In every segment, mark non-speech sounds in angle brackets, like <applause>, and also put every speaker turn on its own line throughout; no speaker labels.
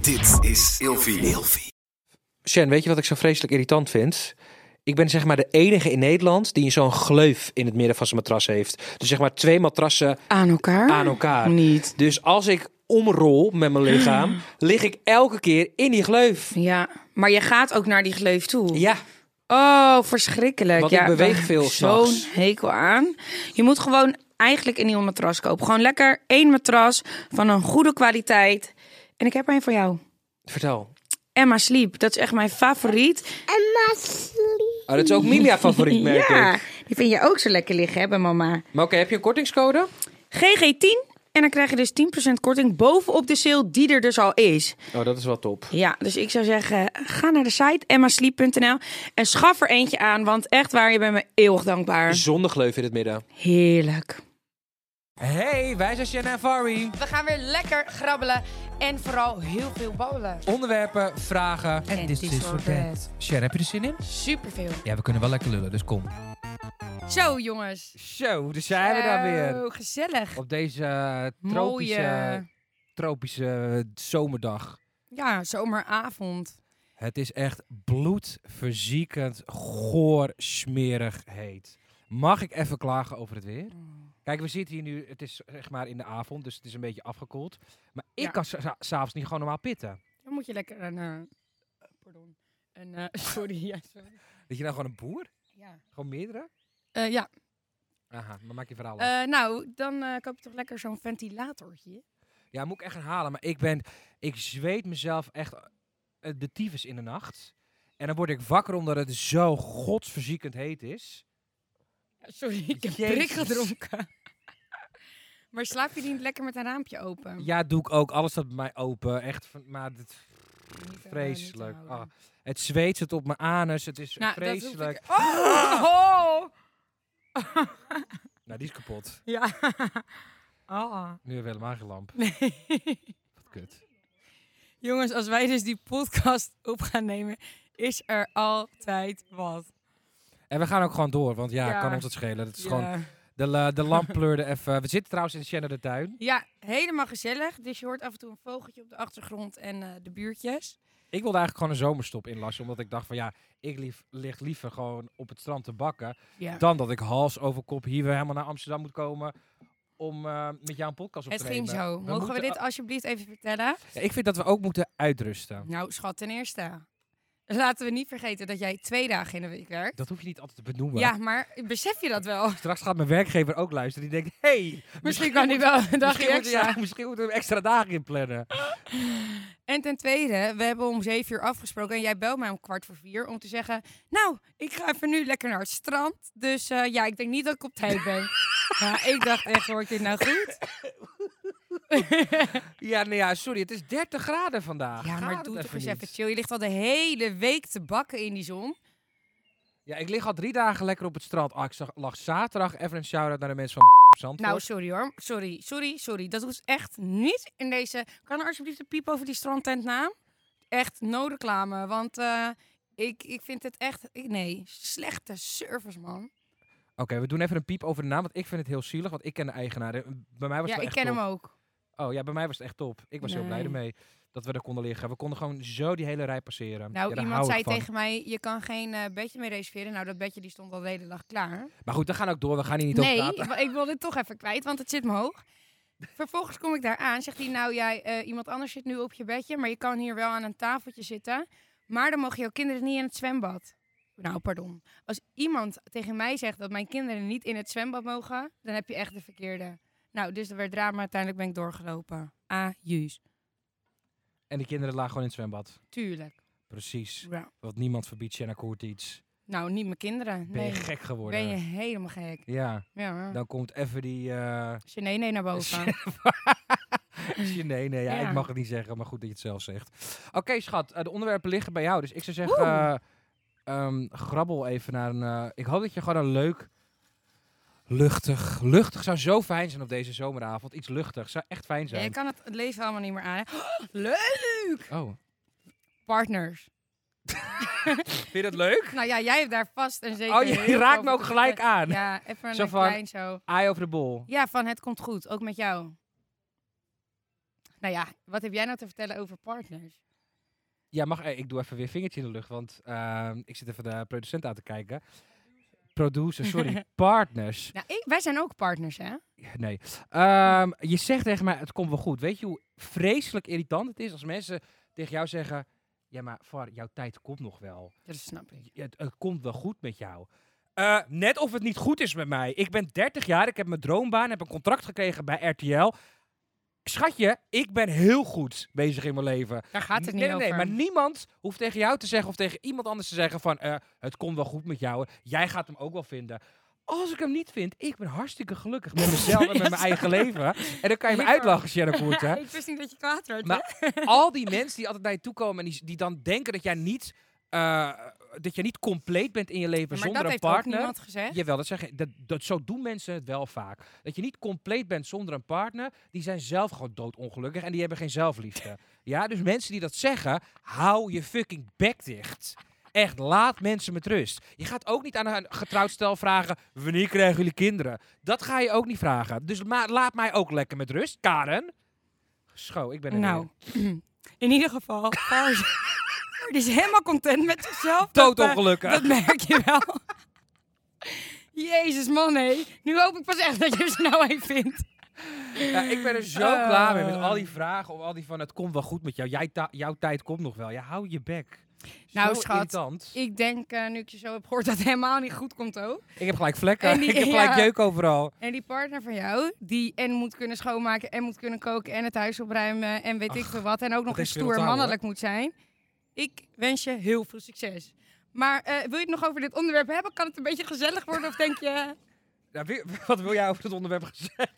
Dit is Ilvi.
Shen, weet je wat ik zo vreselijk irritant vind? Ik ben zeg maar de enige in Nederland die zo'n gleuf in het midden van zijn matras heeft. Dus zeg maar twee matrassen
Aan
Ah,
elkaar?
aan elkaar.
Niet.
Dus als ik omrol met mijn lichaam, lig ik elke keer in die gleuf.
Ja, maar je gaat ook naar die gleuf toe.
Ja,
Oh, verschrikkelijk.
Want
ja,
ik beweeg
daar heb
veel
ik
s'nachts.
Zo'n hekel aan. Je moet gewoon eigenlijk een nieuw matras kopen. Gewoon lekker één matras van een goede kwaliteit. En ik heb er een voor jou.
vertel.
Emma Sleep, dat is echt mijn favoriet.
Ah, dat is ook Milia favoriet, merk
ja,
ik.
die vind je ook zo lekker liggen, hè, bij mama.
Maar oké, heb je een kortingscode?
GG10. En dan krijg je dus 10% korting bovenop de sale die er dus al is.
Oh, dat is wel top.
Ja, dus ik zou zeggen, ga naar de site emmasleep.nl en schaf er eentje aan, want echt waar, je bent me eeuwig
Dus-
dankbaar.
Zonder gleuf in het midden.
Heerlijk.
Hey, wij zijn Shen en Fari.
We gaan weer lekker grabbelen en vooral heel veel babbelen.
Onderwerpen, vragen.
En dit is voor bed.
dus Shen, heb je er zin in?
Superveel.
Ja, we kunnen wel lekker lullen, dus kom.
Zo jongens.
Zo, dus zijn we daar weer.
Zo, gezellig.
Op deze eh, tropische,
Mooie.
tropische zomerdag.
Ja, zomeravond.
Het is echt bloedverziekend, goor, smerig heet. Mag ik even klagen over het weer?
Mm,
Kijk, we zitten hier nu, het is zeg maar in de avond, dus het is een beetje afgekoeld. Maar ik
Ja.
kan sa- s'avonds niet gewoon normaal pitten.
Dan moet je lekker een... eh, pardon. Een, eh, <laughs> sorry, ja, sorry.
Dat je nou gewoon een boer?
Ja.
Gewoon meerdere?
Eh, ja.
Aha, maar maak je verhaal af.
Eh, nou, dan eh, koop je toch lekker zo'n ventilatortje.
Ja, moet ik echt gaan halen. Maar ik ben, ik zweet mezelf echt eh, de tyfus in de nacht. En dan word ik wakker omdat het zo godsverziekend heet is.
Ja, Sorry, ik heb
Jezus.
prik gedronken. maar slaap je niet lekker met een raampje open?
Ja, doe ik ook. Alles staat bij mij open. Echt, van- maar het,
Niet, eh, niet te
vreselijk.
houden.
Ah, het zweet zit op mijn anus. Het is
Nou, dat hoef ik-
vreselijk. Ah!
Oh! oh!
Nou, die is kapot.
Ja. <laughs> Ah.
Nu hebben we helemaal geen lamp. <laughs> Wat kut.
Jongens, als wij dus die podcast op gaan nemen, is er altijd wat.
En we gaan ook gewoon door, want ja,
Ja.
kan ons dat schelen. Dat is
ja.
gewoon, de, la- de
<laughs>
lamp pleurde even. We zitten trouwens in Shannon de tuin.
Ja, helemaal gezellig. Dus je hoort af en toe een vogeltje op de achtergrond en eh, de buurtjes.
Ik wilde eigenlijk gewoon een zomerstop inlassen, omdat ik dacht van ja, ik lief, lig liever gewoon op het strand te bakken,
Ja.
dan dat ik hals over kop hier weer helemaal naar Amsterdam moet komen om eh, met jou een podcast op
Het
te
ging
nemen.
zo. Mogen we
moeten-
dit alsjeblieft even vertellen?
Ja, ik vind dat we ook moeten uitrusten.
Nou, schat, ten eerste. Laten we niet vergeten dat jij twee dagen in de week werkt.
Dat hoef je niet altijd te benoemen.
Ja, maar besef je dat
<laughs>
wel?
Straks gaat mijn werkgever ook luisteren. Die denkt, hey,
Misschien kan ik wel een dagje
misschien, moeten-
extra.
ja, misschien moeten we hem extra dagen inplannen.
En ten tweede, we hebben om zeven uur afgesproken en jij belt mij om kwart voor vier om te zeggen... Nou, ik ga even nu lekker naar het strand, dus eh, ja, ik denk niet dat ik op
<laughs>
tijd ben. ja, ik dacht echt, hoort dit nou goed?
Ja, nee, ja, sorry, het is 30 graden vandaag.
Ja,
Gaat
maar
het
doe toch eens
niet?
even chill. Je ligt al de hele week te bakken in die zon.
Ja, ik lig al drie dagen lekker op het strand. Ah, ik zag, lag zaterdag even een shout-out naar de mensen van op Zandvoort.
Nou, sorry hoor. Sorry, sorry, sorry. Dat hoeft echt niet in deze... Kan er alsjeblieft een piep over die strandtent na? Echt, no reclame, want eh, ik, ik vind het echt... Ik, nee, slechte service, man.
Oké, we doen even een piep over de naam, want ik vind het heel zielig, want ik ken de eigenaar. En Bij mij was
Ja,
het
ik
echt
ken
top.
hem ook.
Oh ja, bij mij was het echt top. Ik was heel blij
Nee.
ermee dat we er konden liggen. We konden gewoon zo die hele rij passeren. Ja,
Nou,
daar
iemand
hou
zei
ik van.
tegen mij, je kan geen eh, bedje meer reserveren. Nou, dat bedje die stond al de hele dag klaar.
Maar goed, we gaan ook door. We gaan hier niet
nee,
over praten.
maar ik wil dit toch even kwijt, want het zit me hoog. Vervolgens kom ik daar aan, zegt hij, nou jij, eh, iemand anders zit nu op je bedje, maar je kan hier wel aan een tafeltje zitten. Maar dan mogen jouw kinderen niet in het zwembad. Nou, pardon. Als iemand tegen mij zegt dat mijn kinderen niet in het zwembad mogen, dan heb je echt de verkeerde. Nou, dus er werd drama, uiteindelijk ben ik doorgelopen. Ah, juus.
En die kinderen lagen gewoon in het zwembad.
Tuurlijk.
Precies.
Ja.
Want niemand verbiedt Shanna Koert iets.
Nou, niet mijn kinderen.
Ben je
Nee.
gek geworden?
Ben je helemaal gek.
Ja,
Ja.
dan komt even die... eh <laughs>
nee nee naar boven.
nee, nee, ja,
Ja.
ik mag het niet zeggen, maar goed dat je het zelf zegt. Oké, schat, eh, de onderwerpen liggen bij jou. Dus ik zou zeggen,
Oeh.
eh, ehm, grabbel even naar een... eh, ik hoop dat je gewoon een leuk, luchtig... Luchtig zou zo fijn zijn op deze zomeravond. Iets luchtig zou echt fijn
Ja,
zijn.
ik kan het, het leven allemaal niet meer aan. hè. <gasps> Leuk!
Oh,
Partners.
vind je dat leuk?
Nou ja, jij hebt daar vast en zeker.
Oh, je
heel veel
raakt
over
me ook
te
gelijk
vertellen.
aan.
Ja, even een
Zo van-
klein zo.
Eye over the ball.
Ja, van het komt goed, ook met jou. Nou ja, wat heb jij nou te vertellen over partners?
Ja, mag eh, ik doe even weer vingertje in de lucht, want ehm, ik zit even de producent aan te kijken. Producer, sorry, partners.
Nou, ik, wij zijn ook partners, hè?
Nee. Ehm, je zegt tegen mij, het komt wel goed. Weet je hoe vreselijk irritant het is als mensen tegen jou zeggen... Ja, maar Var, jouw tijd komt nog wel.
Dat snap ik.
Ja, Het, het komt wel goed met jou. Eh, net of het niet goed is met mij. Ik ben 30 jaar, ik heb mijn droombaan, heb een contract gekregen bij RTL. Schatje, ik ben heel goed bezig in mijn leven.
Daar gaat het niet
nee, nee, nee,
over.
maar niemand hoeft tegen jou te zeggen of tegen iemand anders te zeggen van... eh, het komt wel goed met jou, jij gaat hem ook wel vinden. Als ik hem niet vind, ik ben hartstikke gelukkig met mezelf en
<laughs>
met mijn eigen leven. En dan kan je me
Liever.
uitlachen, Shannon
<laughs>
Koerte.
ik wist niet dat je kwaad werd.
Maar- al die mensen die altijd naar je toe komen en die, die dan denken dat jij niet, eh, dat jij niet compleet bent in je leven
maar
zonder
dat
een
heeft ook
partner.
niemand gezegd.
Jawel, dat zeggen, dat, dat, zo doen mensen het wel vaak. Dat je niet compleet bent zonder een partner, die zijn zelf gewoon doodongelukkig en die hebben geen zelfliefde. ja, dus mensen die dat zeggen, hou je fucking bek dicht. Echt, laat mensen met rust. Je gaat ook niet aan een getrouwd stel vragen, wanneer krijgen jullie kinderen? Dat ga je ook niet vragen. Dus ma- laat mij ook lekker met rust, Karen. Scho, ik ben er
Nou,
weer.
<clears throat> in ieder geval, Paul <laughs> is- Paul is helemaal content met zichzelf. dat, eh,
doodongelukkig.
Dat merk je wel. Jezus man, hé. Nu hoop ik pas echt dat je ze nou een vindt.
Ja, ik ben er zo
Eh.
klaar mee met al die vragen of al die van het komt wel goed met jou. Jij ta- jouw tijd komt nog wel. Ja, hou je bek.
Nou,
zo
schat.
irritant. Ik,
Ik denk, eh, nu ik je zo heb gehoord, dat het helemaal niet goed komt ook.
heb gelijk vlekken.
En die-
ik heb gelijk
ja.
jeuk overal.
En die partner van jou, die en moet kunnen schoonmaken en moet kunnen koken en het huis opruimen en weet ik
Ach,
veel wat. En ook nog
dat
eens
is weer
stoer
onthouden,
mannelijk moet zijn. Ik wens je heel veel succes. Maar eh, wil je het nog over dit onderwerp hebben? Kan het een beetje gezellig worden of denk je... <laughs>
Ja, wie- wat wil <laughs> jij over dit onderwerp gaan zeggen?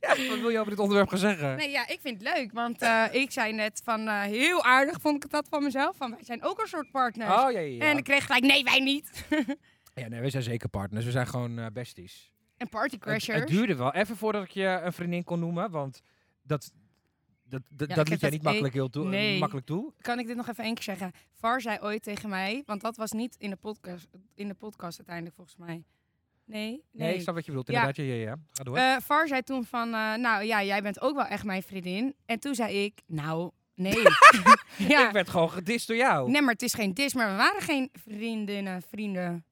<laughs> ja, wat wil je over dit onderwerp gaan zeggen?
Nee, ja, ik vind het leuk. Want eh, ik zei net van eh, heel aardig vond ik het dat van mezelf. Van wij zijn ook een soort partners.
Oh ja, ja, ja.
En ik kreeg gelijk, nee, wij niet.
ja nee, we zijn zeker partners. We zijn gewoon eh, besties.
En
Het,
partycrashers.
het duurde wel even voordat ik je een vriendin kon noemen, want dat, dat, dat,
Ja,
dat
ik
liet jij
heb dat
niet
e-
makkelijk, heel toe,
Nee.
makkelijk toe.
Kan ik dit nog even één keer zeggen? Var zei ooit tegen mij, want dat was niet in de podcast, in de podcast uiteindelijk volgens mij. Nee,
Nee,
nee.
ik snap wat je bedoelt.
Ja.
Inderdaad, ja, ja, ja. Ga door.
Eh, Var zei toen van, eh, nou ja, jij bent ook wel echt mijn vriendin. En toen zei ik, nou, nee. <laughs>
<laughs>
ja.
Ik werd gewoon gedist door jou.
Nee, maar het is geen dis, maar we waren geen vriendinnen, vrienden.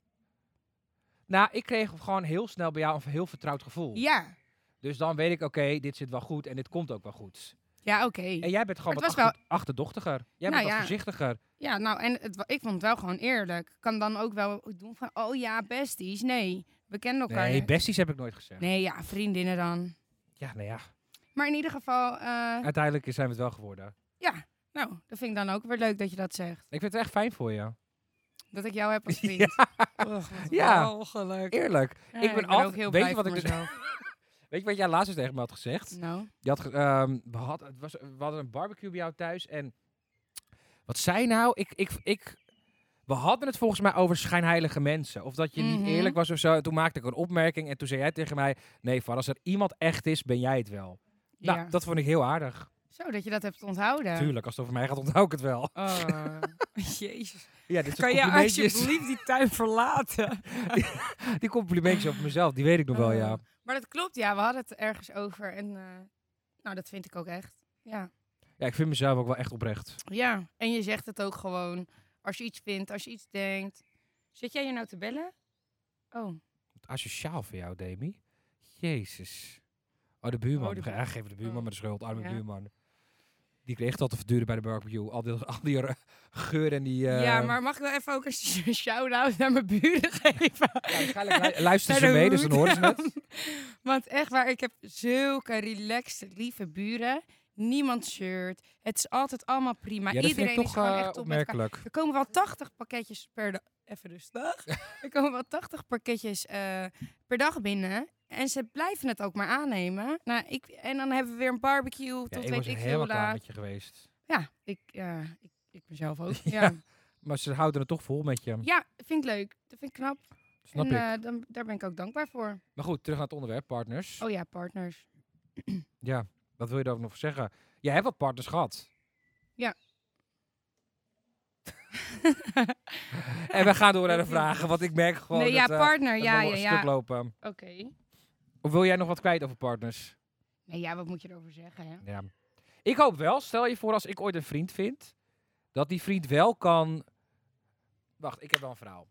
Nou, ik kreeg gewoon heel snel bij jou een heel vertrouwd gevoel.
Ja,
Dus dan weet ik, oké, dit zit wel goed en dit komt ook wel goed.
ja, oké.
En jij bent gewoon
Maar
wat
het was
achter- achterdochtiger. Jij
Nou
bent wat
ja.
voorzichtiger.
Ja, nou, en het, wa- ik vond het wel gewoon eerlijk. Kan dan ook wel doen van, oh ja, besties. Nee, we kennen elkaar.
Nee, besties heb ik nooit gezegd.
nee, ja, vriendinnen dan.
Ja, nou ja.
Maar in ieder geval, eh,
Uiteindelijk zijn we het wel geworden.
ja, nou, dat vind ik dan ook weer leuk dat je dat zegt.
Ik vind het echt fijn voor je.
Dat ik jou
<laughs>
heb als vriend. Och, wat
Ja.
walgelijk.
Eerlijk.
Ja,
ben altijd-
ook heel
weet
blij
je wat
voor
ik dus- <laughs>
mezelf.
Weet je wat jij laatst eens tegen me had gezegd?
nou,
Je had ge- ehm, we, had, het was, we hadden een barbecue bij jou thuis en... Wat zei nou? Ik, ik, ik, we hadden het volgens mij over schijnheilige mensen. Of dat je
Mhm.
niet eerlijk was of zo. Toen maakte ik een opmerking en toen zei jij tegen mij... Nee, Var, als er iemand echt is, ben jij het wel. Nou,
ja.
dat vond ik heel aardig.
Zo, dat je dat hebt onthouden.
Tuurlijk, als het over mij gaat, onthoud ik het wel. <laughs>
Oh. <laughs> Jezus.
Ja, dit soort
Kan je
complimentjes,
alsjeblieft die tuin verlaten?
<laughs> die complimentjes over mezelf, die weet ik nog wel, ja.
Oh. Maar dat klopt, ja. We hadden het ergens over. En eh, nou, dat vind ik ook echt. Ja.
Ja, ik vind mezelf ook wel echt oprecht.
Ja, en je zegt het ook gewoon. Als je iets vindt, als je iets denkt. Zit jij je nou te bellen? Oh,
Wat asociaal voor jou, Demi. Jezus. Oh, de buurman.
Oh, de
ja,
buurman.
geef de buurman
Oh.
maar de schuld. Arme
Ja.
buurman. Die kreeg dat te verduren bij de barbecue. Al die, al die r- geur en die... eh,
ja, maar mag ik wel even ook een <laughs> sh- shout-out naar mijn buren <laughs> geven?
ja, waarschijnlijk lu- luisteren
Naar
ze
de
mee, dus dan
hoed.
horen ze het.
<laughs> Want echt waar, ik heb zulke relaxed, lieve buren. Niemand shirt. Het is altijd allemaal prima.
Ja, dat vind ik
Iedereen is
toch
gewoon
eh,
echt top met elkaar.
opmerkelijk.
Er komen wel 80 pakketjes per dag.
<laughs>
Even rustig. er komen wel 80 pakketjes eh, per dag binnen. En ze blijven het ook maar aannemen. Nou, ik, en dan hebben we weer een barbecue
Ja,
tot
ik
weet
was
ik
helemaal
veel
klaar
laat.
met je geweest.
Ja, ik, eh ik, ik ben
<laughs>
zelf ook.
Ja.
Ja.
Maar ze houden het toch vol met je.
ja, vind ik leuk. Dat vind ik knap.
Snap
en
ik.
eh, dan, daar ben ik ook dankbaar voor.
Maar goed, terug naar het onderwerp, partners.
Oh ja, partners.
Ja, wat wil je daar ook nog voor zeggen? Jij hebt wat partners gehad.
Ja.
<laughs> en we gaan door naar de vragen, want ik merk gewoon
nee,
dat
ja,
eh,
partner.
dat
Ja,
we
ja,
een stuk
ja.
lopen.
Oké.
Of wil jij nog wat kwijt over partners?
Nee, ja, wat moet je erover zeggen, hè?
Ja. Ik hoop wel, stel je voor als ik ooit een vriend vind, dat die vriend wel kan... Wacht, ik heb wel een verhaal.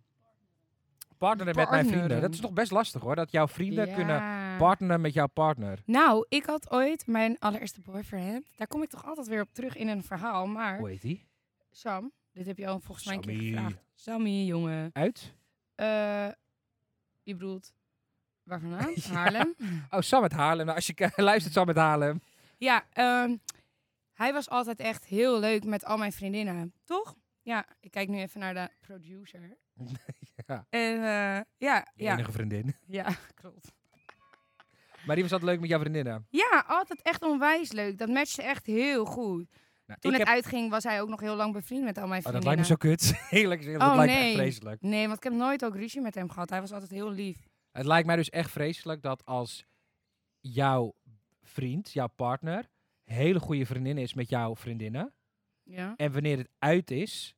Partneren met mijn vrienden. Dat is
Partneren.
toch best lastig hoor, dat jouw vrienden kunnen
Ja.
partneren met jouw partner.
Nou, ik had ooit mijn allereerste boyfriend. Daar kom ik toch altijd weer op terug in een verhaal. Maar
Hoe heet die?
Sam, dit heb je al volgens mij een keer
Sammy.
gevraagd. Sammy, jongen.
Uit?
Eh, je bedoelt, waar
<laughs>
vandaan? Haarlem?
Oh, Sam met Haarlem. Nou, Als je <laughs> k- luistert, Sam met Haarlem.
Ja, ehm, hij was altijd echt heel leuk met al mijn vriendinnen. Toch? Ja, ik kijk nu even naar de producer.
<laughs> Ja.
En eh, ja,
Je
ja,
enige vriendin. <laughs>
ja, <laughs> klopt.
Maar die was altijd leuk met jouw vriendinnen.
Ja, altijd echt onwijs leuk. Dat matchte echt heel goed.
Nou,
Toen
ik
het
heb...
uitging was hij ook nog heel lang bevriend met al mijn
Oh, dat
vriendinnen.
lijkt me zo kut. <laughs> Heerlijk, heerlijk.
Oh,
dat lijkt me echt
nee.
vreselijk.
Nee, want ik heb nooit ook ruzie met hem gehad. Hij was altijd heel lief.
Het lijkt mij dus echt vreselijk dat als jouw vriend, jouw partner, hele goede vriendin is met jouw vriendinnen.
Ja.
En wanneer het uit is,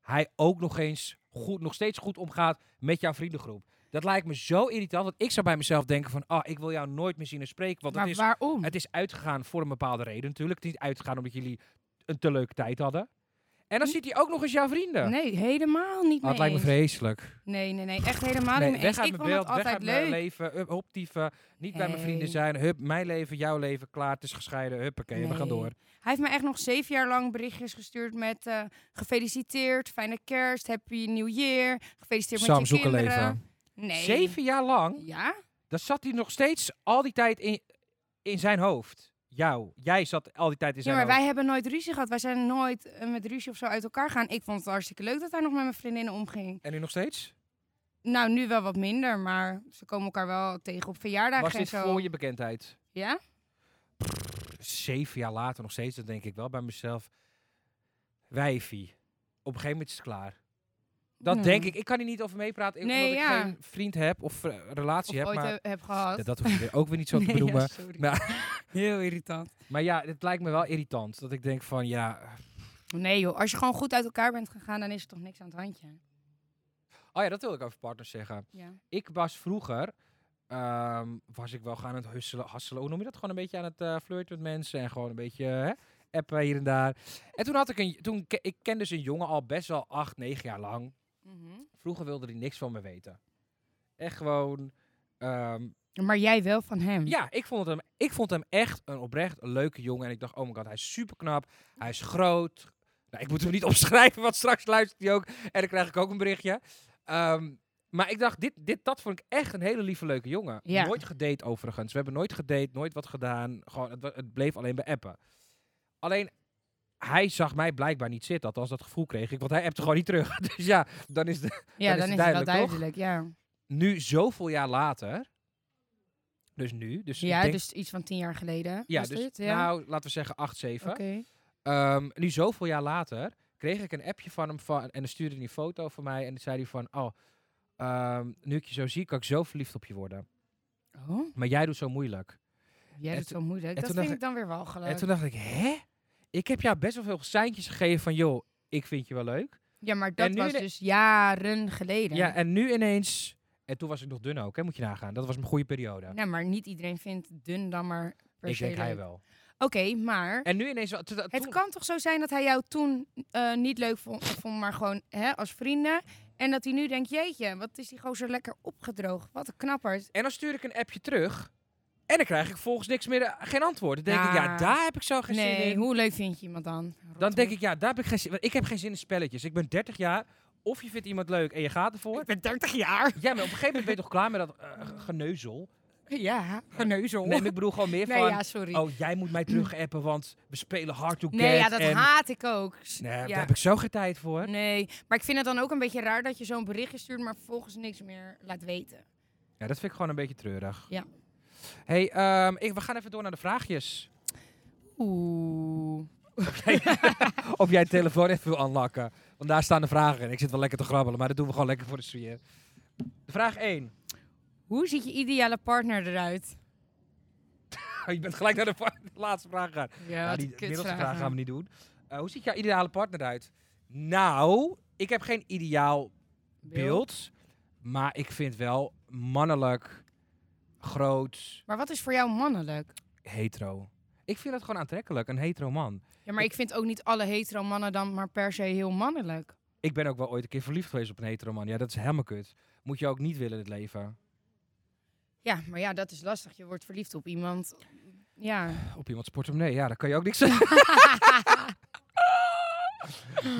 hij ook nog eens goed, nog steeds goed omgaat met jouw vriendengroep. Dat lijkt me zo irritant, want ik zou bij mezelf denken van, ah, ik wil jou nooit meer zien en spreken, want
maar
het is
waarom?
Het is uitgegaan voor een bepaalde reden natuurlijk. Het is niet uitgegaan omdat jullie een te leuke tijd hadden. En dan ziet hij ook nog eens jouw vrienden.
Nee, helemaal niet
Hm. Ah,
meer.
het lijkt me vreselijk.
Nee, nee, nee. Echt helemaal
Nee,
niet meer.
weg
eens.
uit
Ik
mijn
vond
beeld,
het
weg
altijd
uit mijn
leuk.
leven. Hup, hop, dieven. Niet bij mijn vrienden
Nee.
zijn. Hup, mijn leven, jouw leven. Klaar, het is gescheiden. Huppakee, we gaan
Nee.
door.
Hij heeft me echt nog zeven jaar lang berichtjes gestuurd met eh, gefeliciteerd, fijne kerst, happy new year, gefeliciteerd
Sam,
met je
zoek een
kinderen.
leven.
Nee.
Zeven jaar lang,
Ja?
dan zat hij nog steeds al die tijd in, in zijn hoofd. Jou, jij zat al die tijd in
Ja,
zijn
maar
hoofd.
wij hebben nooit ruzie gehad. Wij zijn nooit eh, met ruzie of zo uit elkaar gaan. Ik vond het hartstikke leuk dat hij nog met mijn vriendinnen omging.
En nu nog steeds?
Nou, nu wel wat minder, maar ze komen elkaar wel tegen op verjaardagen
Was
en
dit
zo.
voor je bekendheid?
Ja?
zeven jaar later nog steeds, dat denk ik wel bij mezelf. Wijfie, op een gegeven moment is het klaar. Dat
Ja.
denk ik. Ik kan hier niet over meepraten, eh,
Hmm. Nee,
omdat
ja.
ik geen vriend heb of eh, relatie
Of
heb.
ooit
Maar
heb, heb gehad.
Ja, dat hoef je weer- ook weer
<laughs>
niet zo te
Nee, ja,
benoemen.
sorry.
maar, <laughs>
Heel irritant.
maar ja, het lijkt me wel irritant. Dat ik denk van, ja...
Nee joh, als je gewoon goed uit elkaar bent gegaan, dan is er toch niks aan het handje.
Oh ja, dat wil ik over partners zeggen.
Ja.
Ik was vroeger... ehm, was ik wel gaan aan het husselen, hasselen. Hoe noem je dat? Gewoon een beetje aan het eh, flirten met mensen. En gewoon een beetje hè, appen hier en daar. En toen had ik een... Toen, ke- ik ken dus een jongen al best wel acht, negen jaar lang.
Mhm.
Vroeger wilde hij niks van me weten. Echt gewoon. ehm,
Maar jij wel van hem.
ja, ik vond, hem, ik vond hem echt een oprecht leuke jongen. En ik dacht, oh my god, hij is super knap. Hij is groot. Nou, ik moet hem niet <laughs> opschrijven, want straks luistert hij ook. En dan krijg ik ook een berichtje. Ehm, maar ik dacht, dit, dit, dat vond ik echt een hele lieve leuke jongen.
Ja.
Nooit gedate overigens. We hebben nooit gedate, nooit wat gedaan. Gewoon, het, wa- het bleef alleen bij appen. Alleen, hij zag mij blijkbaar niet zitten. Althans, dat gevoel kreeg ik. Want hij appte gewoon niet terug. <laughs> Dus ja, dan is de
Ja,
Dan
dan
is
is,
het
het wel
duidelijk, toch?
duidelijk, ja.
nu zoveel jaar later. Dus nu. Dus ik
Ja,
denk-
dus iets van tien jaar geleden.
ja,
was
dus
dit? Ja,
nou, laten we zeggen 8, 7.
oké.
Ehm, nu zoveel jaar later kreeg ik een appje van hem van, en dan stuurde hij een foto van mij. En dan zei hij van, oh, ehm, nu ik je zo zie, kan ik zo verliefd op je worden.
Oh,
Maar jij doet zo moeilijk.
jij
En
doet zo moeilijk.
en
Dat
toen
vind
dacht
ik dan weer walgelijk.
En toen dacht ik, hè? Ik heb jou best wel veel seintjes gegeven van, joh, ik vind je wel leuk.
ja, maar
en
dat
nu
was
de-
dus jaren geleden.
Ja, en nu ineens... En toen was ik nog dun ook, hè, moet je nagaan. Dat was mijn goede periode.
Nou, maar niet iedereen vindt dun dan maar per
ik
se
denk hij
leuk.
wel.
Oké, maar
En nu ineens... wel- to-
het
toen-
kan toch zo zijn dat hij jou toen eh, niet leuk vond, vond maar gewoon hè, als vrienden. En dat hij nu denkt, jeetje, wat is die gozer lekker opgedroogd. Wat een knapperd.
En dan stuur ik een appje terug. En dan krijg ik volgens niks meer eh, geen antwoord. Dan denk ik, ja,
Ja.
daar heb ik zo geen zin
Nou. Nee,
in.
hoe leuk vind je iemand dan?
Dan denk
Rothoek.
ik, ja, daar heb ik geen zin Want ik heb geen zin in spelletjes. Ik ben 30 jaar. Of je vindt iemand leuk en je gaat ervoor.
ben 30 jaar.
Ja, maar op een gegeven moment ben je toch klaar met dat eh, ge- geneuzel.
<laughs> Ja, geneuzel.
Nee, maar ik bedoel gewoon meer
Nee,
van...
ja, sorry.
Oh, jij moet mij terugappen, want we spelen hard to get.
nee, ja, dat
en,
haat ik ook. S-
Nee, daar
ja. Mm.
heb ik zo geen tijd voor.
Nee, maar ik vind het dan ook een beetje raar dat je zo'n berichtje stuurt, maar vervolgens niks meer laat weten.
Ja, dat vind ik gewoon een beetje treurig.
Ja.
hey, ehm, ik, we gaan even door naar de vraagjes. <laughs>
Oeh.
Of jij je telefoon even wil unlocken. Want daar staan de vragen in. Ik zit wel lekker te grabbelen, maar dat doen we gewoon lekker voor de sfeer. Vraag 1.
Hoe ziet je ideale partner eruit?
Oh, je bent gelijk naar de, va- <laughs> de laatste vraag gegaan.
Ja,
Nou,
wat
die
een
middelste
kutvraag.
vraag gaan we niet doen. Eh, hoe ziet jouw ideale partner uit? Nou, ik heb geen ideaal beeld. Maar ik vind wel mannelijk, groot.
Maar wat is voor jou mannelijk?
hetero. Ik vind dat gewoon aantrekkelijk, een hetero man.
Ja, maar ik vind ook niet alle hetero mannen dan maar per se heel mannelijk.
Ik ben ook wel ooit een keer verliefd geweest op een hetero man. Ja, dat is helemaal kut. Moet je ook niet willen in het leven.
Ja, maar ja, dat is lastig. Je wordt verliefd op iemand. Ja.
Op iemands portemonnee, ja, daar kan je ook niks
<laughs>
aan.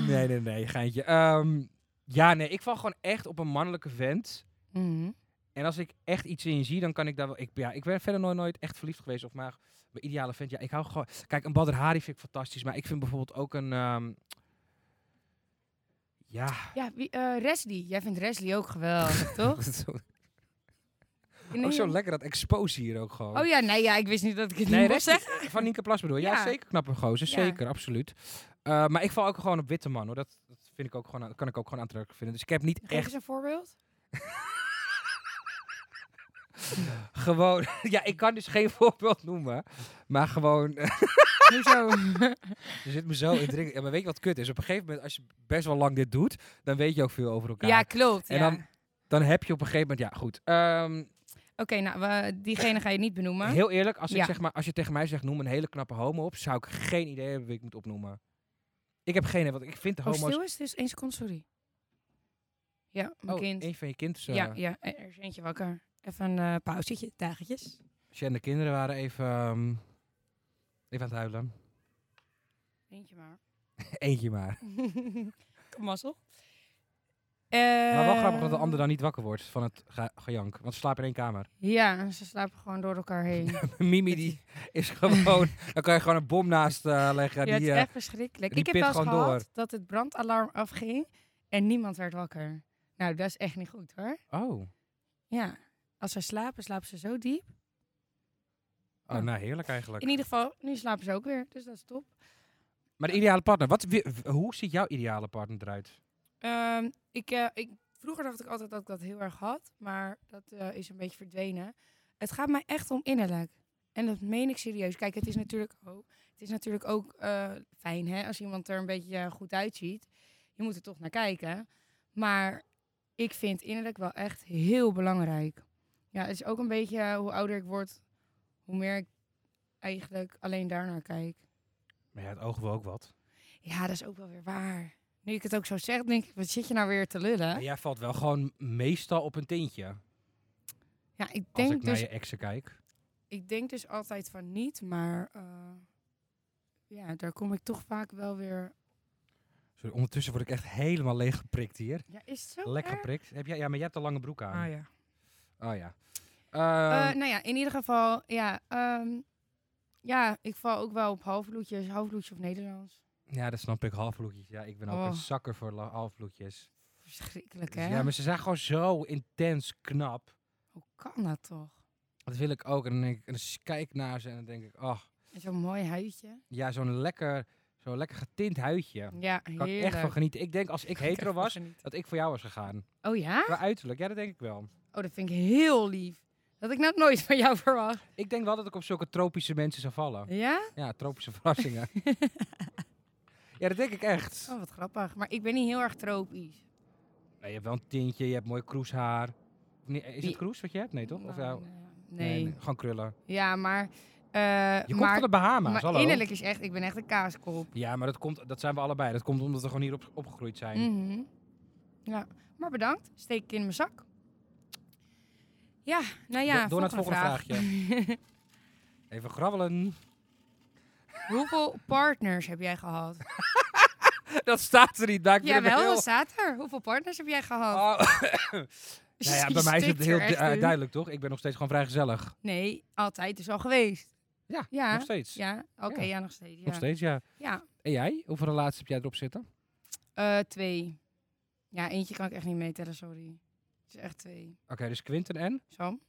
nee, nee, nee, geintje. Ehm, ja, nee, ik val gewoon echt op een mannelijke vent.
Mhm.
En als ik echt iets in je zie, dan kan ik daar wel... Ik, ja, ik ben verder nooit, nooit echt verliefd geweest. Of maar mijn ideale vent. Ja, ik hou gewoon... Kijk, een Badr Hari vind ik fantastisch. Maar ik vind bijvoorbeeld ook een... ehm, ja... <laughs>
Ja, wie, eh, Resli. Jij vindt Resli ook geweldig, toch?
ook Oh, zo lekker dat expose hier ook gewoon.
Oh ja, nee, ja, ik wist niet dat ik het
Nee,
niet mocht
Resli-
zeggen.
Van Nienke Plas bedoel je? Ja,
Ja.
zeker knappe gozer.
Ja.
Zeker, absoluut. Eh, maar ik val ook gewoon op witte man, hoor. Dat, dat vind ik ook gewoon, aan- kan ik ook gewoon aantrekkelijk vinden. Dus ik heb niet
Geef
echt
eens een voorbeeld. dus-
gewoon... <laughs> ja, ik kan dus geen <laughs> voorbeeld noemen. Maar gewoon...
Hoezo?
Er zit me zo in het drinken. Ja, maar weet je wat kut is? Op een gegeven moment, als je best wel lang dit doet, dan weet je ook veel over elkaar.
ja, klopt.
En
ja.
dan- Dan heb je op een gegeven moment, ja, goed. Ehm,
Oké, nou, we- diegene ga je niet benoemen.
heel eerlijk, als, ik
Ja.
zeg maar, als je tegen mij zegt, noem een hele knappe homo op, zou ik geen idee hebben wie ik moet opnoemen. Ik heb geen idee, want ik vind de
Oh,
homo's...
stil is dus één seconde, sorry. Ja, mijn
Oh,
kind.
een van je kind. Dus,
Ja, ja, er er is eentje wakker. Even een eh, pauzetje, dagetjes.
en de kinderen waren even, ehm, even aan het huilen.
Eentje <laughs> maar.
Eentje maar.
Mazzel.
maar
Ehm.
wel grappig dat de ander dan niet wakker wordt van het ge- gejank. Want ze slapen in één kamer. <laughs>
Ja, ze slapen gewoon door elkaar heen.
Mimi, die is
<laughs>
gewoon... dan kan je gewoon een bom naast eh, leggen.
ja, het
die,
is
eh,
echt verschrikkelijk.
die
Ik heb
pit
wel eens
gewoon
gehad dat het brandalarm afging en niemand werd wakker. Nou, dat is echt niet goed hoor.
Oh.
Ja, als ze slapen, slapen ze zo diep.
Oh,
Ja.
nou heerlijk eigenlijk.
In ieder geval, nu slapen ze ook weer, dus dat is top.
Maar de ideale partner, wat, wi- w- hoe ziet jouw ideale partner eruit?
Ehm, ik, eh, ik, vroeger dacht ik altijd dat ik dat heel erg had, maar dat eh, is een beetje verdwenen. Het gaat mij echt om innerlijk. En dat meen ik serieus. Kijk, het is natuurlijk, oh, het is natuurlijk ook eh, fijn hè, als iemand er een beetje eh, goed uitziet. Je moet er toch naar kijken. Maar ik vind innerlijk wel echt heel belangrijk. Ja, het is ook een beetje eh, hoe ouder ik word, hoe meer ik eigenlijk alleen daarnaar kijk.
Maar ja, het oog wil ook wat.
Ja, dat is ook wel weer waar. Nu ik het ook zo zeg, denk ik, wat zit je nou weer te lullen?
Maar jij valt wel gewoon meestal op een tintje.
Ja, ik
Als
denk,
ik naar
dus,
je exen kijk.
ik denk dus altijd van niet, maar eh, ja, daar kom ik toch vaak wel weer.
Sorry, ondertussen word ik echt helemaal leeg geprikt hier.
Ja, is het zo?
Lekker
erg?
geprikt. Heb jij, ja, maar jij hebt een lange broek aan.
Ah, ja.
Oh ja. Ehm,
Eh, nou ja, in ieder geval, ja, ehm, ja, ik val ook wel op halfbloedjes, halfbloedje of Nederlands.
ja, dat snap ik. Halfbloedjes. Ja, ik ben ook
Oh.
een zakker voor la- halfbloedjes. Dus
Verschrikkelijk, hè?
Ja, maar ze zijn gewoon zo intens knap.
Hoe kan dat toch?
Dat wil ik ook. En dan, denk ik, en dan s- kijk ik naar ze en dan denk ik, oh,
En Zo'n mooi huidje.
ja, zo'n lekker, zo'n lekker getint huidje.
Ja,
Kan ik
heerlijk.
echt van genieten. Ik denk als ik
Kan ik
hetero
echt van
was,
genieten.
dat ik voor jou was gegaan.
Oh ja?
Qua uiterlijk, ja, dat denk ik wel.
Oh, dat vind ik heel lief. Dat ik nou nooit van jou verwacht.
Ik denk wel dat ik op zulke tropische mensen zou vallen.
Ja?
Ja, tropische verrassingen. ja, dat denk ik echt.
Oh, wat grappig. Maar ik ben niet heel erg tropisch.
Nee, je hebt wel een tintje, je hebt mooi kroeshaar. Nee, is
Die-
het kroes wat je hebt? Nee, toch? Of
Nou,
jou?
nee. nee.
Gewoon krullen.
Ja, maar... eh,
Je komt
maar,
van de Bahama's,
maar
hallo.
innerlijk is echt... Ik ben echt een kaaskop.
Ja, maar dat, komt, dat zijn we allebei. Dat komt omdat we gewoon hierop opgegroeid zijn.
Mhm. Ja, maar bedankt. Steek ik in mijn zak. Ja, nou ja,
Do- door naar het
volgende
volgende
vraag.
vraagje.
<laughs>
Even grabbelen.
Hoeveel partners heb jij gehad?
Dat staat er niet. Daar ben ik
Jawel,
heel-
dat staat er. Hoeveel partners heb jij gehad?
Oh,
<laughs>
nou ja, bij mij is
Stikt
het
er
heel
echt
du- eh,
in.
duidelijk, toch? Ik ben nog steeds gewoon vrijgezellig.
Nee, altijd is al geweest.
Ja,
Ja,
nog steeds.
Ja, oké,
Ja.
ja. nog steeds. Ja,
Nog steeds, ja.
ja
En jij? Hoeveel relaties heb jij erop zitten?
eh, twee. Ja, eentje kan ik echt niet meetellen, sorry. Het is echt twee.
Oké, dus Quinten en?
Sam?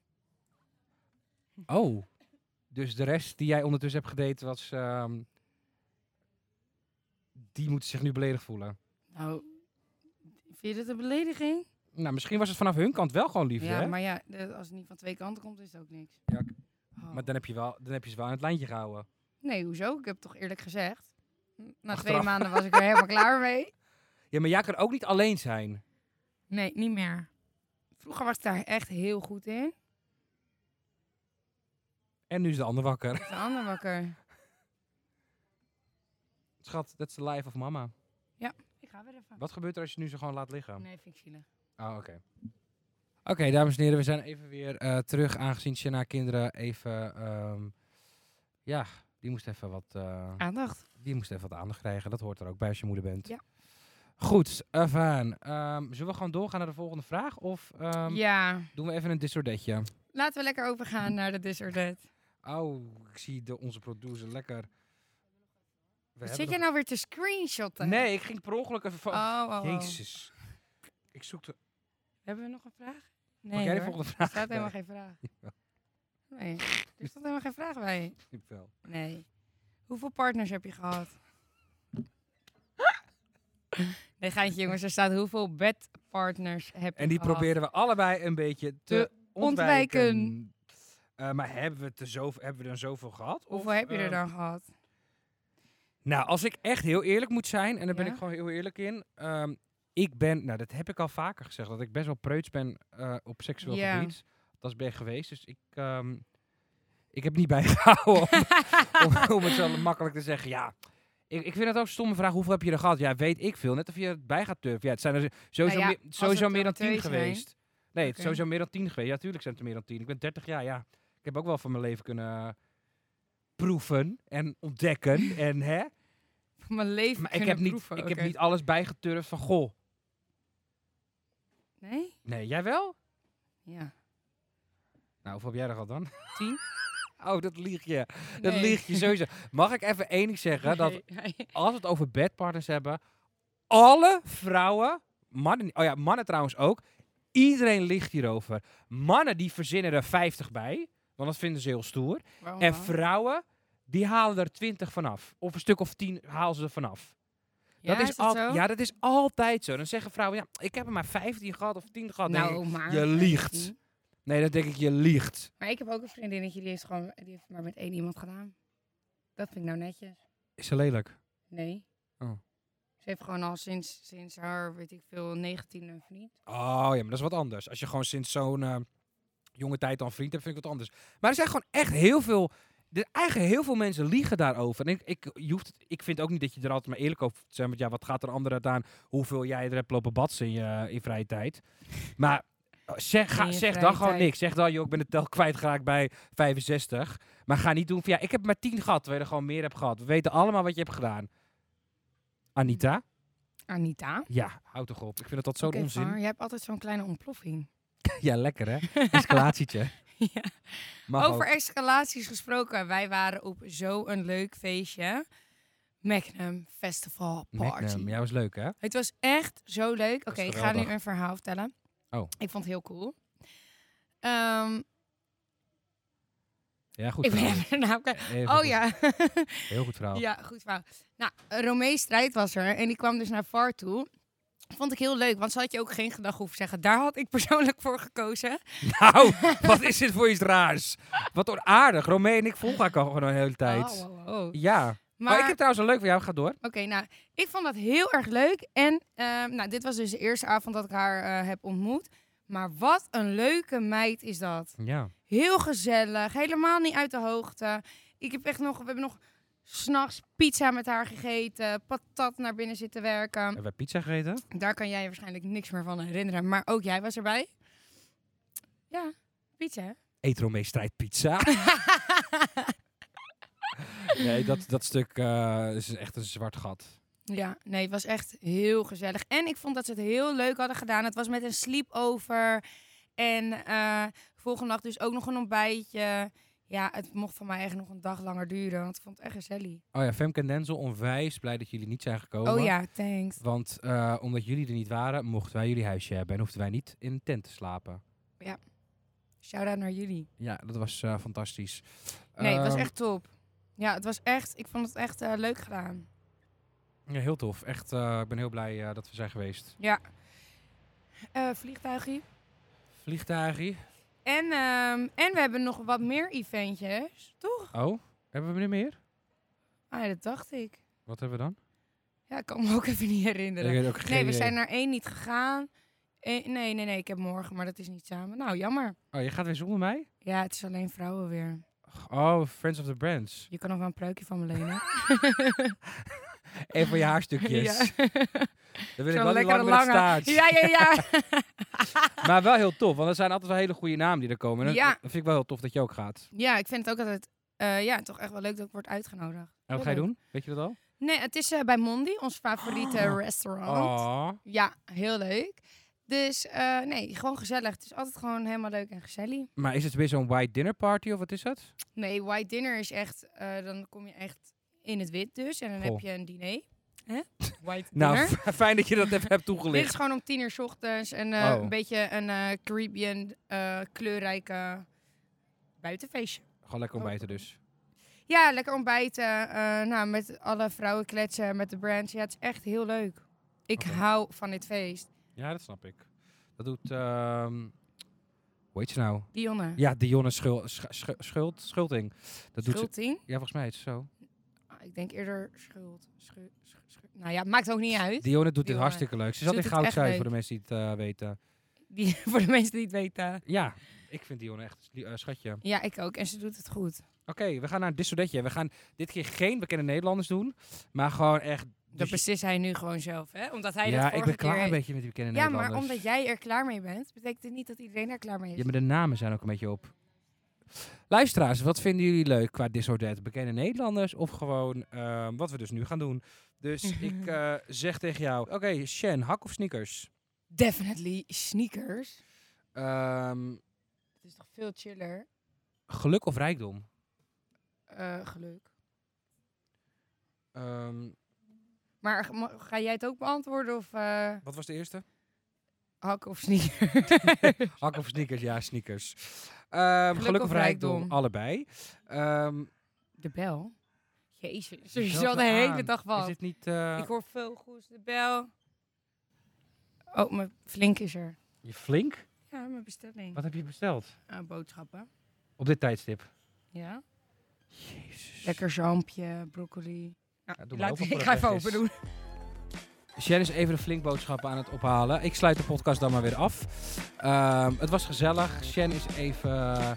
Oh. Dus de rest die jij ondertussen hebt gedate was... ehm, die moeten zich nu beledigd voelen.
Nou, vind je dat een belediging?
Nou, misschien was het vanaf hun kant wel gewoon liefde,
ja,
hè?
maar ja, de- als het niet van twee kanten komt, is het ook niks.
Ja, k-
Oh.
Maar dan heb, je wel, dan heb je ze wel aan het lijntje gehouden.
Nee, hoezo? Ik heb toch eerlijk gezegd. hm, Na twee
Achteraf.
maanden was ik er
<laughs>
helemaal klaar mee.
Ja, maar jij kan ook niet alleen zijn.
Nee, niet meer. Vroeger was ik daar echt heel goed in.
En nu is de ander wakker. <laughs>
De ander wakker.
Schat, that's the life of mama.
Ik ga weer even.
Wat gebeurt er als je nu ze gewoon laat liggen?
Nee, vind ik zielig.
Ah, oké. Oké, dames en heren, we zijn even weer eh, terug. Aangezien Shanna kinderen even... ehm, ja, die moest even wat... eh,
Aandacht.
Die moest even wat aandacht krijgen. Dat hoort er ook bij als je moeder bent.
Ja.
Goed, Evan. zullen we gewoon doorgaan naar de volgende vraag? Of ehm,
ja,
doen we even een disordetje?
laten we lekker overgaan naar de disordet.
Oh, ik zie de, onze producer lekker... We hebben
Zit jij
nog-
nou weer te screenshotten?
Nee, ik ging per ongeluk even... van-
Oh, oh, oh.
Jezus. Ik zoek de...
Hebben we nog een vraag?
Mag
Nee
jij de
hoor.
volgende
Er
vraag?
staat
<laughs>
helemaal geen vraag. Nee, er staat helemaal geen vraag bij.
geen... Wel.
Nee. Hoeveel partners heb je gehad?
<laughs>
Nee, geintje jongens. Er staat hoeveel bedpartners heb je
En die
gehad?
probeerden we allebei een beetje te
Te
ontwijken.
ontwijken.
Eh, maar hebben we, te zoveel, hebben we er zoveel gehad? Of,
Hoeveel heb je er
eh,
dan gehad?
Nou, als ik echt heel eerlijk moet zijn, en daar ben
Ja?
ik gewoon heel eerlijk in. ehm, ik ben, nou dat heb ik al vaker gezegd, dat ik best wel preuts ben eh, op seksueel
Ja.
gebied. Dat ben ik geweest, dus ik, ehm, ik heb niet <laughs> bijgehouden om,
<laughs>
om, om het zo makkelijk te zeggen. Ja, ik, ik vind het ook een stomme vraag, hoeveel heb je er gehad? Ja, weet ik veel. Net of je het bij gaat turven. Ja, het zijn er sowieso,
Nou ja,
meer,
als
sowieso
het
meer dan
er
tien
twee zijn.
geweest. Nee, het
Oké.
is sowieso meer dan tien geweest. Ja, tuurlijk zijn het er meer dan tien. Ik ben 30 jaar, ja. Ik heb ook wel van mijn leven kunnen eh, proeven en ontdekken en hè.
Van mijn leven
Maar ik
kunnen
heb, niet,
proeven,
ik
oké.
heb niet alles bijgeturfd van goh.
Nee?
Nee, jij wel?
Ja.
Nou, hoeveel heb jij er gehad dan?
Tien?
<laughs> Oh, dat lieg je. Dat
Nee. <laughs>
lieg je sowieso. Mag ik even één ding zeggen? Dat
Nee.
als we het over bedpartners hebben, alle vrouwen, mannen, niet- oh ja, mannen trouwens ook, iedereen liegt hierover. Mannen die verzinnen er 50 bij, want dat vinden ze heel stoer.
Waarom
En
dan?
vrouwen, die halen er 20 vanaf. Of een stuk of 10 halen ze er vanaf.
Ja,
dat is
dat
al-
zo?
Ja, dat is altijd zo. Dan zeggen vrouwen, ja, ik heb er maar 15 gehad of 10 gehad. Dan denk ik,
nou, maar... Mm.
je liegt. Nee, dan denk ik, je liegt.
Maar ik heb ook een vriendinnetje, die heeft, gewoon, die heeft maar met één iemand gedaan. Dat vind ik nou netjes.
Is ze lelijk?
Nee.
Oh.
Ze heeft gewoon al sinds, sinds haar, weet ik veel, 19 een vriend.
Oh ja, maar dat is wat anders. Als je gewoon sinds zo'n eh, jonge tijd al een vriend hebt, vind ik wat anders. Maar er zijn gewoon echt heel veel... Er, eigenlijk heel veel mensen liegen daarover. En ik, ik, je hoeft, het- ik vind ook niet dat je er altijd maar eerlijk over moet zijn. Want ja, wat gaat er anderen het aan hoeveel jij er hebt lopen batsen in je in vrije tijd? Maar oh, zeg, ga,
In je
zeg dan
vrije
gewoon
tijd.
niks. Zeg dan, joh, ik ben de tel kwijtgeraakt bij 65. Maar ga niet doen van, ja, ik heb maar 10 gehad. Terwijl je er gewoon meer hebt gehad. We weten allemaal wat je hebt gedaan. Anita?
Anita.
Ja, houd toch op. Ik vind dat dat zo'n
Oké,
onzin.
Var, jij hebt altijd zo'n kleine ontploffing.
<laughs> Ja, lekker hè?
<laughs>
Escalatietje.
Ja.
Mag
Over
ook.
escalaties gesproken. Wij waren op zo'n leuk feestje. Magnum Festival Party.
Magnum. Ja, was leuk hè?
Het was echt zo leuk. Oké,
is
ik ga nu
geweldig.
een verhaal vertellen.
Oh.
Ik vond het heel cool. Ehm,
Ja, goed
ik ben
verhaal.
even nou kwijt.
Even
Oh
goed. Oh.
ja.
Heel goed verhaal.
<laughs> ja, goed verhaal. Nou, Romee Strijd was er en die kwam dus naar VAR toe. Vond ik heel leuk, want ze had je ook geen gedag hoeven zeggen. Daar had ik persoonlijk voor gekozen.
<laughs>
<laughs>
Nou, wat is dit voor iets raars? Wat onaardig. Romee en ik volgen elkaar gewoon een hele tijd.
Oh, oh, oh.
Ja. Maar...
Maar
ik heb trouwens een leuk voor jou. Ga door.
Oké, nou, ik vond dat heel erg leuk. En ehm, nou, dit was dus de eerste avond dat ik haar eh, heb ontmoet. Maar wat een leuke meid is dat.
Ja.
Heel gezellig, helemaal niet uit de hoogte. Ik heb echt nog, we hebben nog s'nachts pizza met haar gegeten, patat naar binnen zitten werken.
Hebben wij pizza gegeten?
Daar kan jij je waarschijnlijk niks meer van herinneren, maar ook jij was erbij. Ja, pizza. hè? <laughs>
Eet Romee strijd pizza. nee, dat, dat stuk eh, is echt een zwart gat.
Ja, nee, het was echt heel gezellig. En ik vond dat ze het heel leuk hadden gedaan. Het was met een sleepover. En eh volgende dag dus ook nog een ontbijtje. Ja, het mocht van mij echt nog een dag langer duren, want ik vond het echt gezellig.
Oh ja, Femke en Denzel, onwijs blij dat jullie niet zijn gekomen.
Oh ja, thanks.
Want eh, omdat jullie er niet waren, mochten wij jullie huisje hebben en hoefden wij niet in een tent te slapen.
Shout-out naar jullie.
Ja, dat was eh, fantastisch.
Nee, het was
Ehm,
echt top. Ja, het was echt, ik vond het echt eh, leuk gedaan.
ja, heel tof. Echt, eh, ik ben heel blij eh, dat we zijn geweest.
Ja. Eh, vliegtuigje.
Vliegtuigje.
En, ehm, en we hebben nog wat meer eventjes, toch?
Oh, hebben we er meer?
Ah, ja, dat dacht ik.
Wat hebben we dan?
Ja, ik kan me ook even niet
Ik
herinneren.
weet ook geen
Nee, we
idee.
zijn naar één niet gegaan. Eh, nee, nee, nee, ik heb morgen, maar dat is niet samen. Nou, jammer.
Oh, je gaat weer zonder mij?
Ja, het is alleen vrouwen weer.
Oh, Friends of the Brands.
Je kan nog wel een pruikje van me
<laughs>
lenen. <laughs>
En voor je haarstukjes.
Ja.
Dan wil ik wel
Zo'n
die lang met
lekkere
een
lange.
staart.
ja, ja, ja.
Maar wel heel tof, want er zijn altijd wel hele goede namen die er komen. En dat-
Ja.
Dat vind ik wel heel tof dat je ook gaat.
Ja, ik vind het ook altijd eh, ja, toch echt wel leuk dat ik word uitgenodigd.
En wat
Heel
ga je
leuk.
doen? Weet je dat al?
Nee, het is eh, bij Mondi, ons favoriete
Oh.
restaurant.
Oh.
Ja, heel leuk. Dus eh, nee, gewoon gezellig. Het is altijd gewoon helemaal leuk en gezellig.
Maar is het weer zo'n white dinner party of wat is dat?
Nee, white dinner is echt, eh, dan kom je echt in het wit dus. En dan
Goh.
heb je een diner.
<laughs>
Hè? White
Nou, <laughs>
dinner.
fijn dat je dat even hebt
Dit is
toegelicht.
gewoon om tien uur 's ochtends. En eh,
Oh.
een beetje een eh, Caribbean eh, kleurrijke buitenfeestje.
Gewoon
Oh.
lekker ontbijten dus.
Ja, lekker ontbijten. eh, nou, met alle vrouwen kletsen, met de brands. Ja, het is echt heel leuk. Ik
Oké.
hou van dit feest.
Ja, dat snap ik. Dat doet... ehm hoe heet ze nou?
Dionne,
Ja, Dionne Schul, Sch- Sch- Schuld, Schulting. Dat doet ze...
schuldtien?
Ja, volgens mij is het zo.
Ah, ik denk eerder schuld. Schu- schu- schu- nou ja, maakt ook niet uit.
Dionne doet dit
Dionne.
hartstikke leuk. Ze
Ze
zat in
doet het echt
Goudzuid voor
leuk.
de mensen die het eh, weten.
Die, <laughs> voor de mensen die het weten.
Ja, ik vind Dionne echt een lie- eh, schatje. Oké,
Ja, ik ook. En ze doet het goed.
we gaan naar een dissodetje. We gaan dit keer geen bekende Nederlanders doen, maar gewoon echt...
Dat
dus-
beslist hij nu gewoon zelf, hè? Omdat hij dat
ja, ik
vorige
ben klaar
keer...
een beetje met die bekende
ja, maar
Nederlanders.
omdat jij er klaar mee bent, betekent het niet dat iedereen er klaar mee is.
Ja, maar de namen zijn ook een beetje op. Luisteraars, wat vinden jullie leuk qua disordet? Bekende Nederlanders of gewoon ehm, wat we dus nu gaan doen? Dus
<laughs>
ik eh, zeg tegen jou, oké, Shen, hak of sneakers?
Definitely sneakers.
Ehm,
Het is toch veel chiller.
geluk of rijkdom?
eh, geluk.
Ehm,
Maar g- ma- ga jij het ook beantwoorden of eh
wat was de eerste?
hak of sneaker?
Hak of sneakers? Ja, sneakers. Ehm, geluk,
Geluk
of
of
rijkdom?
rijkdom?
Allebei. Ehm,
<laughs> De bel? Jezus,
bel
je zal de
ze
hele
aan.
dag
Is
wat.
dit niet... eh,
Ik hoor veel goeds. De bel. Oh, mijn flink is er.
Je flink?
Ja, mijn bestelling.
Wat heb je besteld?
Eh, boodschappen.
Op dit tijdstip?
Ja.
Jezus.
Lekker zalmpje, broccoli.
Ja, doe maar
Laat,
open
<laughs> ik
voordat
ga
het
even
weg is.
open doen.
Jen is even de flinkboodschappen aan het ophalen. Ik sluit de podcast dan maar weer af. Ehm, het was gezellig. Jen is even... eh,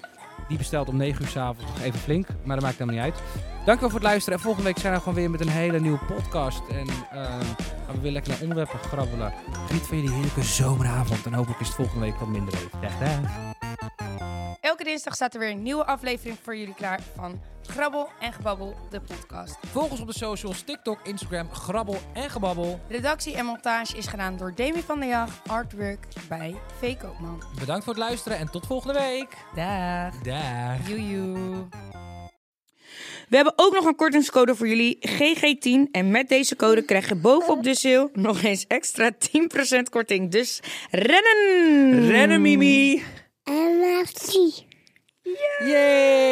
die bestelt om 9 uur s'avonds nog even flink. Maar dat maakt helemaal niet uit. Dankjewel voor het luisteren. En volgende week zijn we gewoon weer met een hele nieuwe podcast. En ehm, gaan we weer lekker naar onderwerpen grabbelen. Geniet van jullie heerlijke zomeravond. En hopelijk is het volgende week wat minder leuk. Dag, dag.
Elke dinsdag staat er weer een nieuwe aflevering voor jullie klaar van Grabbel en Gebabbel, de podcast.
Volg ons op de socials. TikTok, Instagram, Grabbel en Gebabbel.
Redactie en montage is gedaan door Demi van der Jag, artwork bij V. Koopman.
Bedankt voor het luisteren. En tot volgende week.
Dag.
Dag.
Joejoe.
We hebben ook nog een kortingscode voor jullie, GG10. En met deze code krijg je bovenop de sale nog eens extra 10% korting. Dus rennen!
Rennen, Mimi.
I love tea.
Yay!